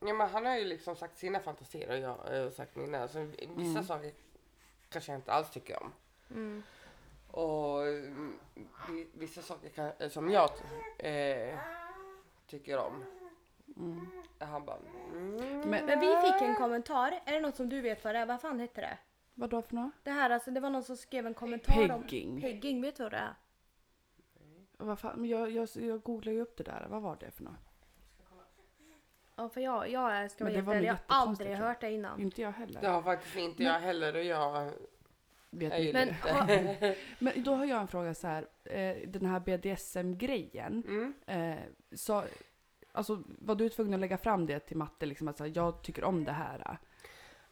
C: Ja, men han har ju liksom sagt sina fantasier och jag har ju sagt mina. Så vissa saker kanske jag inte alls tycker om.
A: Mm.
C: Och mm, vi- vissa saker kan, eh, som jag eh, tycker om. Han bara... Mm.
B: Men
A: Men vi fick en kommentar. Är det något som du vet vad det är? Vad fan hette det?
B: vad då för något?
A: Det här alltså, det var någon som skrev en kommentar om...
B: Pegging.
A: Pegging. vet du vad det är?
B: Vad fan, men jag, jag, jag googlade ju upp det där. Vad var det för något?
A: Ja, för jag, jag är- ska
B: Men
A: vara
B: det
A: helt
B: var väl
A: ärlig, jag har
B: jättekonstigt,
A: aldrig
B: tror jag.
A: hört det innan.
B: Inte jag heller.
C: Det har faktiskt inte jag heller och jag...
B: Vet
C: Jag
B: inte.
C: gillar
A: Men
C: det.
A: har,
B: Men då har jag en fråga så här. Eh, den här BDSM-grejen.
C: Mm.
B: Eh, så, alltså, var du tvungen att lägga fram det till matte? Liksom, att så här, jag tycker om det här.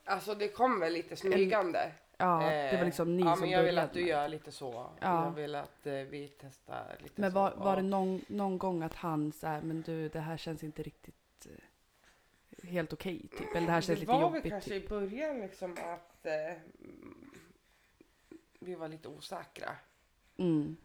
C: Alltså det kom väl lite smygande.
B: Ja, det var
C: Eh,
B: liksom ni
C: ja,
B: som
C: men jag vill
B: började
C: att du
B: med det.
C: gör lite så.
B: Ja.
C: Jag vill att eh, vi testar lite
B: Men
C: så.
B: var, var det
C: Ja.
B: någon, någon gång att han så här, men du, det här känns inte riktigt eh, helt okej, typ. Eller det här känns
C: det
B: lite
C: var väl
B: jobbigt.
C: kanske
B: Typ.
C: i början liksom att eh, vi var lite osäkra.
B: Mm.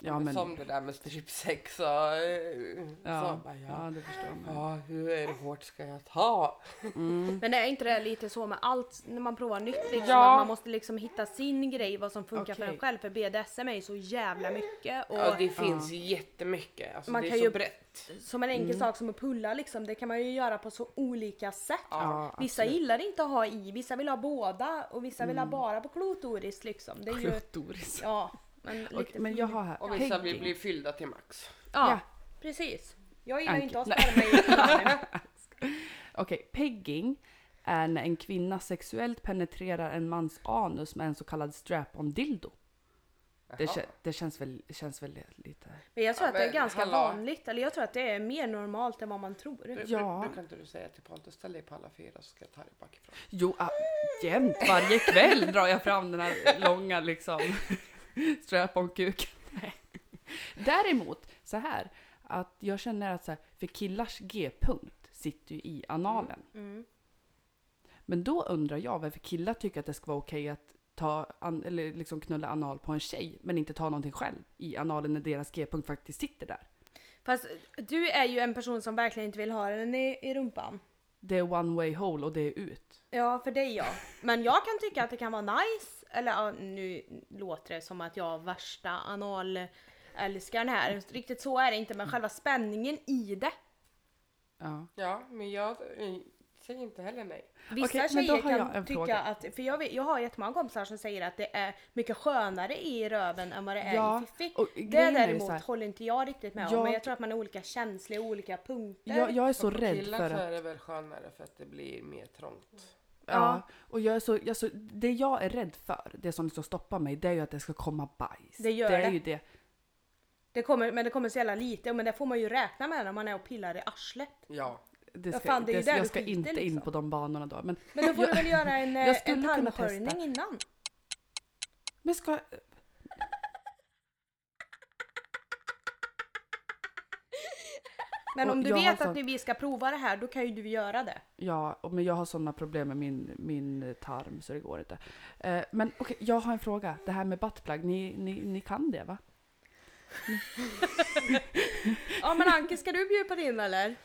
B: Ja, men,
C: Som det där med strypsex och eh,
B: ja,
C: så bara, ja.
B: ja, det förstår man.
C: Ja, hur hårt ska jag ta?
B: Mm.
A: men det är inte det lite så med allt när man provar nytt liksom?
C: Ja.
A: Att man måste liksom hitta sin grej, vad som funkar för en
B: Okej.
A: själv. För BDSM är ju så jävla mycket. Och
C: Ja, det finns jättemycket. Alltså,
A: Man
C: det är
A: kan
C: så
A: ju-
C: brett.
A: Som en
B: Mm.
A: enkel sak som att pulla liksom, det kan man ju göra på så olika sätt.
B: Ja,
A: Vissa gillar inte att ha i, vissa vill ha båda och vissa
B: Mm.
A: vill ha bara på klotoris liksom. Det är ju,
B: Klotoris.
A: ja, men lite mm,
B: Okej, men jag har här.
C: Och vissa vill
B: pegging.
C: bli fyllda till max.
A: Ja,
B: Ja.
A: precis. Jag gillar ju
B: Anki.
A: inte att spara mig i
B: Okej, pegging är när en kvinna sexuellt penetrerar en mans anus med en så kallad strap-on dildo. Det,
C: Jaha.
B: kä- det känns, väl, känns väl lite...
A: Men jag tror
C: Ja,
A: att det är
C: men
A: ganska
C: hallå. Mm.
A: vanligt, eller jag tror att det är mer normalt än vad man tror.
C: Bru-
B: Ja.
C: bru- Brukar inte du säga till Pontus, ställ dig på alla fyra så ska jag ta dig bakifrån.
B: Jo, ah, jämt varje kväll drar jag fram den här långa liksom strap-on-kuken. Nej. Däremot så här att jag känner att så här, för killars G-punkt sitter ju i analen.
A: Mm.
B: Men då undrar jag varför killar tycker att det ska vara okej att ta an, eller liksom knulla anal på en tjej men inte ta någonting själv i analen när deras G-punkt faktiskt sitter där.
A: Fast du är ju en person som verkligen inte vill ha den i, i rumpan.
B: Det är one way hole och det är ut.
A: Ja, för dig ja. Men jag kan tycka att det kan vara nice, eller ja, nu låter det som att jag värsta analälskaren här. Riktigt så är det inte, men själva spänningen i det.
B: Ja.
C: Ja, men jag eh, säger inte heller nej.
A: Vissa
B: Okej, men då
A: tjejer kan
B: har jag en
A: tycka
B: fråga.
A: att, för jag, vet, jag har jättemånga kompisar som säger att det är mycket skönare i röven än vad det är
B: Ja,
A: i fiffi.
B: och
A: Det
B: grejen är ju
A: däremot
B: så här-
A: håller inte jag riktigt med om,
B: Jag-
A: men jag tror att man är olika känslig i olika punkter.
B: Jag, jag är så
C: För
B: rädd
C: killar
B: för
C: så
B: att...
C: är det väl skönare för att det blir mer trångt.
A: Ja.
B: Ja, och jag är så, jag är så, det jag är rädd för, det som liksom stoppar mig, det är ju att det ska komma bajs.
A: Det gör
B: det. Är
A: det.
B: ju det.
A: Det kommer, men det kommer så jävla lite, men det får man ju räkna med när man är och pillar i arslet.
C: Ja.
B: Det
A: Ja,
B: ska,
A: fan, det
B: det
A: är ju där
B: jag
A: du
B: ska
A: skiter
B: inte in
A: liksom.
B: på de banorna då. Men,
A: Men då får
B: jag,
A: du väl göra en,
B: jag
A: eh,
B: skulle
A: en
B: kunna testa.
A: tarmsköljning innan.
B: men ska...
A: Men
B: Och
A: om du
B: jag har
A: vet att
B: sånt-
A: vi ska prova det här, då kan ju du göra det.
B: Ja, och- men jag har sådana problem med min, min tarm så det går inte. Eh, men okej, jag har en fråga. Det här med buttplug, ni, ni, ni kan det va?
A: Ja men Anke, ska du bjuda på din eller?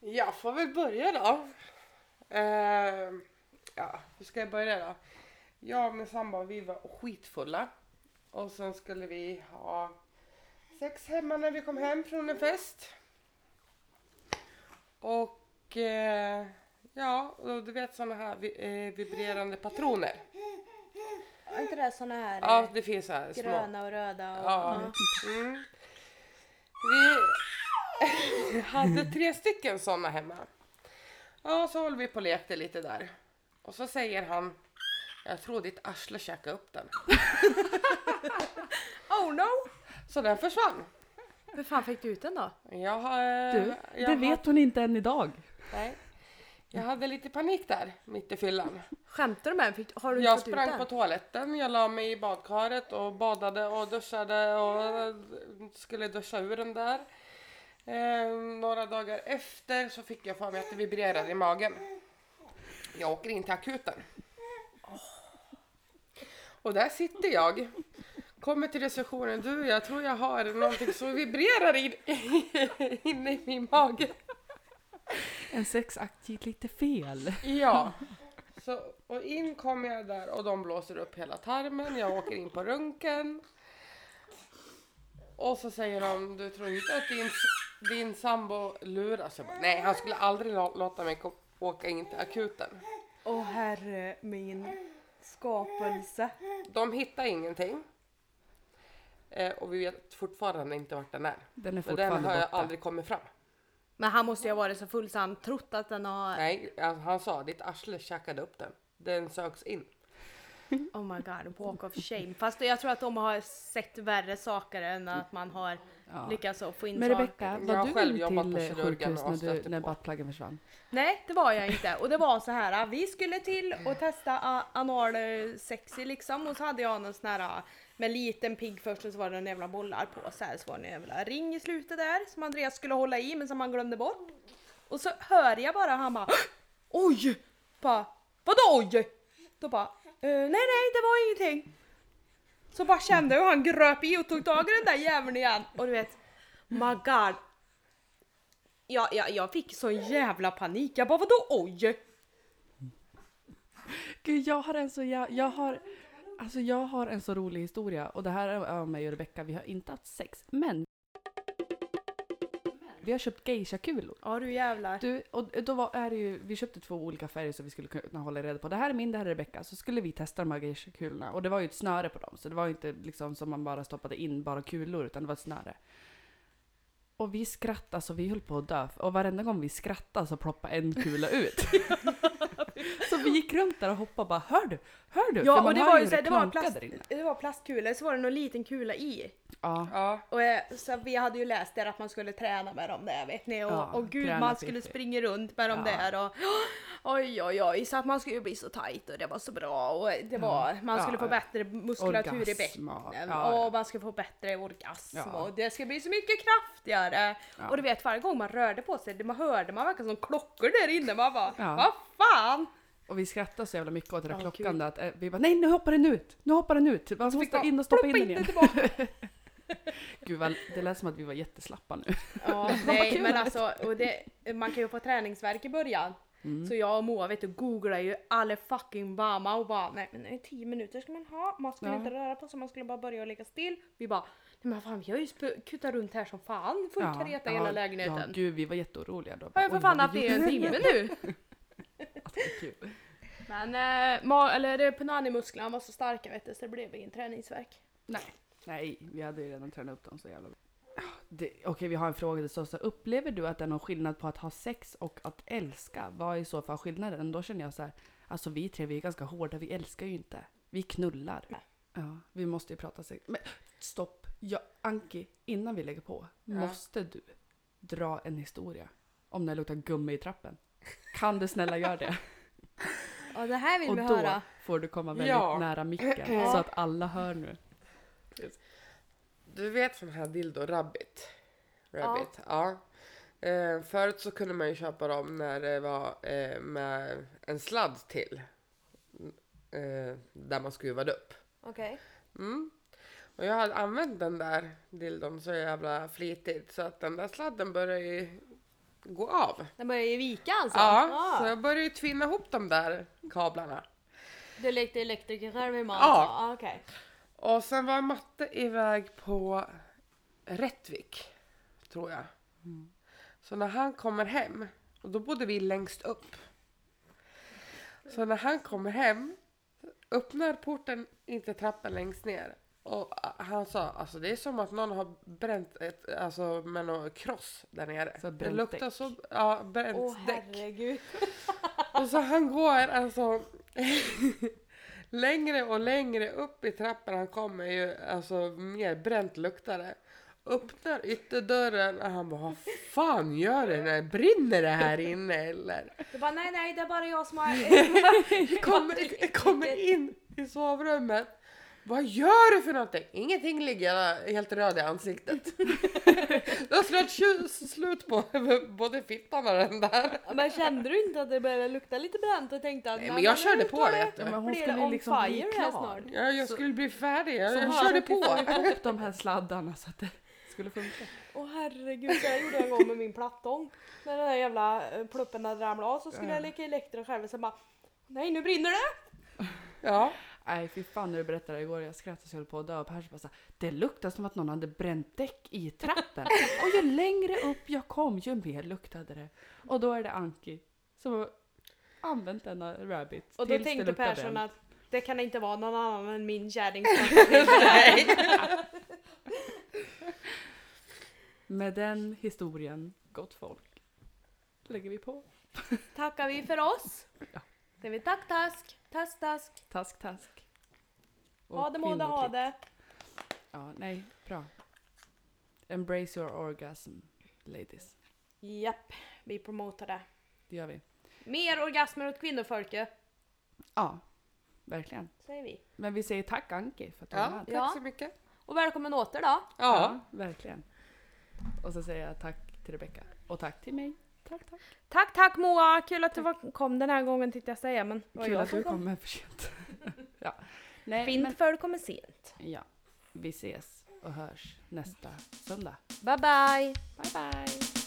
C: Jag får väl börja då. Eh, ja, hur ska jag börja då? Jag och min sambo vi var skitfulla. Och sen skulle vi ha sex hemma när vi kom hem från en fest. Och eh, ja, och du vet sådana här vi- eh, vibrerande patroner.
A: Är inte det såna här
C: Ja,
A: eh,
C: det finns så här små.
A: gröna och röda? Och,
C: Ja.
A: ja.
C: Mm. Vi hade tre stycken sådana hemma. Ja, så håller vi på och lekte lite där. Och så säger han, jag tror ditt arsle käkade upp den.
A: Oh no!
C: Så den försvann.
A: Hur fan fick du ut den då?
C: Jag, har-
A: Eh,
B: Du,
C: jag
B: det vet hon inte än idag.
C: har- Nej. Jag hade lite panik där, mitt i fyllan.
A: Skämtar du med mig? Fick- Har du inte
C: Jag
A: fått ut
C: sprang
A: den?
C: på toaletten, jag la mig i badkaret och badade och duschade och skulle duscha ur den där. Eh, några dagar efter så fick jag för mig att det vibrerade i magen. Jag åker in till akuten. Och där sitter jag, Kommer till recessionen, du jag tror jag har någonting som vibrerar in, inne i min mage.
B: En sexakt gick lite fel.
C: Ja. Så, och in kom jag där och de blåser upp hela tarmen. Jag åker in på röntgen. Och så säger de, du tror inte att din, din sambo luras? Jag bara, nej, han skulle aldrig lå- låta mig ko- åka in till akuten.
A: Åh herre min skapelse.
C: De hittar ingenting. Eh, och vi vet fortfarande inte vart den är.
B: Den är
C: För den har
B: fortfarande
C: jag
B: borta.
C: aldrig kommit fram.
A: Men han måste ju ha varit så full så han trott att den har...
C: Nej, han han sa, ditt arsle käkade upp den. Den söks in.
A: Oh my god, walk of shame. Fast jag tror att de har sett värre saker än att man har
B: Ja.
A: lyckats att få in
B: Men Rebecka,
A: saker.
C: Jag
B: var
C: har
B: du
C: själv
B: själv
C: jobbat
B: till
C: på
B: eh,
C: kirurgen
B: sjukhus
C: och
B: när,
C: stötte
B: du, när
C: på.
B: buttpluggen försvann?
A: Nej, det var jag inte. Och det var så här, "Ah, vi skulle till och testa a- anal eh, sexy liksom. Och så hade jag någon sån här eh, med liten pigg först och så var det en jävla bollar på. Så här så var det en jävla ring i slutet där som Andreas skulle hålla i men som han glömde bort. Och så hör jag bara han bara "Ah, Oj! Bara, Vadå oj? Då bara "Eh, Nej nej det var ingenting. Så bara kände jag hur han gröp i och tog tag i den där jäveln igen. Och du vet, my god. Ja, ja, jag fick sån jävla panik. Jag bara vadå oj?
B: Gud, jag har en så jag, jag har Alltså jag har en så rolig historia och det här är av mig och Rebecka. Vi har inte haft sex, men vi har köpt geisha-kulor.
A: Ja du jävlar.
B: Du, och då var, är det ju, vi köpte två olika färger så vi skulle kunna hålla reda på. Det här är min, det här är Rebecka. Så skulle vi testa de här geisha-kulorna. Och det var ju ett snöre på dem. Så det var ju inte liksom som man bara stoppade in bara kulor utan det var ett snöre. Och vi skrattade så vi höll på att dö. Och varenda gång vi skrattade så ploppade en kula ut. så vi gick runt där och hoppade och bara hör du? Hör du? För
A: Ja
B: man
A: och det
B: hör
A: var ju
B: hur
A: så här, det var,
B: klankar
A: plast,
B: där inne.
A: det var plastkulor så var det någon liten kula i.
B: Ja.
C: Ja,
A: Och eh, så vi hade ju läst där att man skulle träna med dem där vet ni och,
B: Ja,
A: och gud
B: träna
A: man
B: fick
A: skulle
B: vi.
A: springa runt med dem
B: Ja.
A: där och oj oj oj så att man skulle ju bli så tight och det var så bra och det var man skulle
B: Ja,
A: få
B: ja.
A: bättre muskulatur i
B: Orgasm och-
A: bäcken
B: ja, ja.
A: och man skulle få bättre orgasm
B: Ja.
A: och det ska bli så mycket kraftigare
B: Ja.
A: och du vet varje gång man rörde på sig det man hörde man verkligen som klockor där inne man bara
B: Ja.
A: vad fan
B: Och vi skrattade så jävla mycket åt den där
A: Ja,
B: klockan
A: gud.
B: där att eh, vi bara nej nu hoppar den ut, nu hoppar den ut. Man måste
A: man
B: in och stoppa in
A: ploppa
B: den igen.
A: in den
B: Gud vad, det lät som att vi var jätteslappa nu.
A: Ja, nej
B: kul
A: men
B: att-
A: alltså, och det, man kan ju få träningsvärk i början.
B: Mm.
A: Så jag och Moa vet du, googlar ju alla fucking bama och bara nej men 10 minuter ska man ha, man skulle
B: Ja.
A: inte röra på sig, man skulle bara börja och ligga still. Vi bara nej men fan vi har ju sp- kutat runt här som fan, full kareta i hela
B: Ja
A: lägenheten.
B: gud vi var jätteoroliga då.
A: Har jag för
B: Oj,
A: fan
B: vad
A: haft
B: vi
A: det i en
B: gjorde.
A: timme nu?
B: Alltså, kul.
A: Men eh, ma- eller det- punanimusklerna var så starka vet du så det blev ingen träningsvärk.
B: Nej. Nej, vi hade ju redan tränat upp dem så jävla bra. Ah, det- Okej, vi har en fråga till Sossa. Upplever du att det är någon skillnad på att ha sex och att älska? Vad är i så fall skillnaden? Då känner jag så här, alltså vi tre vi är ganska hårda, vi älskar ju inte. Vi knullar.
A: Nej.
B: Ja, vi måste ju prata sex. Men stopp! Ja, Anki, innan vi lägger på,
C: Ja.
B: måste du dra en historia om när det luktar gummi i trappen? Kan du snälla göra det?
A: Ja det här vill
B: Och
A: vi
B: då
A: höra.
B: får du komma väldigt
C: Ja.
B: nära micken så att alla hör nu.
C: Du vet sån här dildo rabbit? Rabbit, ja. Eh, förut så kunde man ju köpa dem när det var eh, med en sladd till. Eh, där man skruvade upp.
A: Okej.
C: Mm. Och jag hade använt den där dildon så jävla flitigt så att den där sladden började ju gå av.
A: Den börjar ju vika alltså?
C: Ja, så jag började ju tvinna ihop de där kablarna.
A: Du lekte elektrikerskärm i
C: Ja. alltså.
A: Okej.
C: Och sen var matte iväg på Rättvik, tror jag.
B: Mm.
C: Så när han kommer hem, och då bodde vi längst upp. Så när han kommer hem, öppnar porten, inte trappen längst ner. Och ah, han sa, alltså det är som att någon har bränt ett, alltså med någon kross där nere.
B: Så
C: det
B: bränt
C: luktar
B: däck.
C: så, ja, bränt
A: Åh
C: däck.
A: herregud.
C: Och så han går alltså längre och längre upp i trappan. Han kommer ju alltså mer bränt luktare. Öppnar ytterdörren och han bara vad fan gör den här? Brinner det här inne eller?
A: Du bara nej nej det är bara jag som har...
C: Kommer, kommer in i sovrummet Vad gör du för någonting? Ingenting ligger jag helt röd i ansiktet. det har slagit tju- slut på både fittan och den där.
A: Men kände du inte att det började lukta lite bränt och tänkte att
C: Nej, men jag
A: nu
C: körde på
A: tar
C: vet
B: Ja, men
C: du.
B: hon
A: blir det
B: skulle
A: on
B: liksom bli
A: fire här
B: klar.
A: snart.
C: Ja, jag
B: Så-
C: skulle bli färdig.
B: Så
C: Jag, jag
B: har
C: körde
B: jag försökt
C: på.
B: få ihop de här sladdarna så att det skulle funka.
A: Åh herregud, så jag gjorde en gång med min plattång. När den där jävla eh, pluppen hade ramlat av så skulle jag leka elektro själv och sen bara Nej nu brinner det!
C: Ja.
B: Nej fy fan när du berättade det igår, jag skrattade så jag höll på att dö. Och Pers bara så här, det luktar som att någon hade bränt däck i trappen. Och ju längre upp jag kom ju mer luktade det. Och då är det Anki som har använt denna rabbit.
A: Och då
B: tills det
A: tänkte
B: luktar
A: Persson
B: bränt.
A: att det kan inte vara någon annan än min kärring som har brinner det."
B: Med den historien, gott folk, lägger vi på.
A: Tackar vi för oss! Det vi tack task, task task,
B: Task, task. Och
A: ha det må det ha
B: kvinnoklipp.
A: det.
B: Ja, nej, bra. Embrace your orgasm, ladies.
A: Japp, vi promotar det.
B: Det gör vi.
A: Mer orgasmer åt kvinnofolket,
B: Ja, verkligen.
A: säger vi.
B: Men vi säger tack Anki för att du
C: ja,
B: var med.
C: tack så mycket.
A: Och välkommen åter då!
C: Ja.
B: verkligen. Och så säger jag tack till Rebecka och tack till mig. Tack, tack.
A: Tack tack Moa, kul att du var, kom den här gången tänkte jag säga men... det var
B: Kul
A: jag
B: att
A: som
B: du kom med för sent. ja. Nej,
A: Fint för du kommer sent.
B: men, ja. Vi ses och hörs nästa söndag.
A: Bye bye!
B: Bye, bye.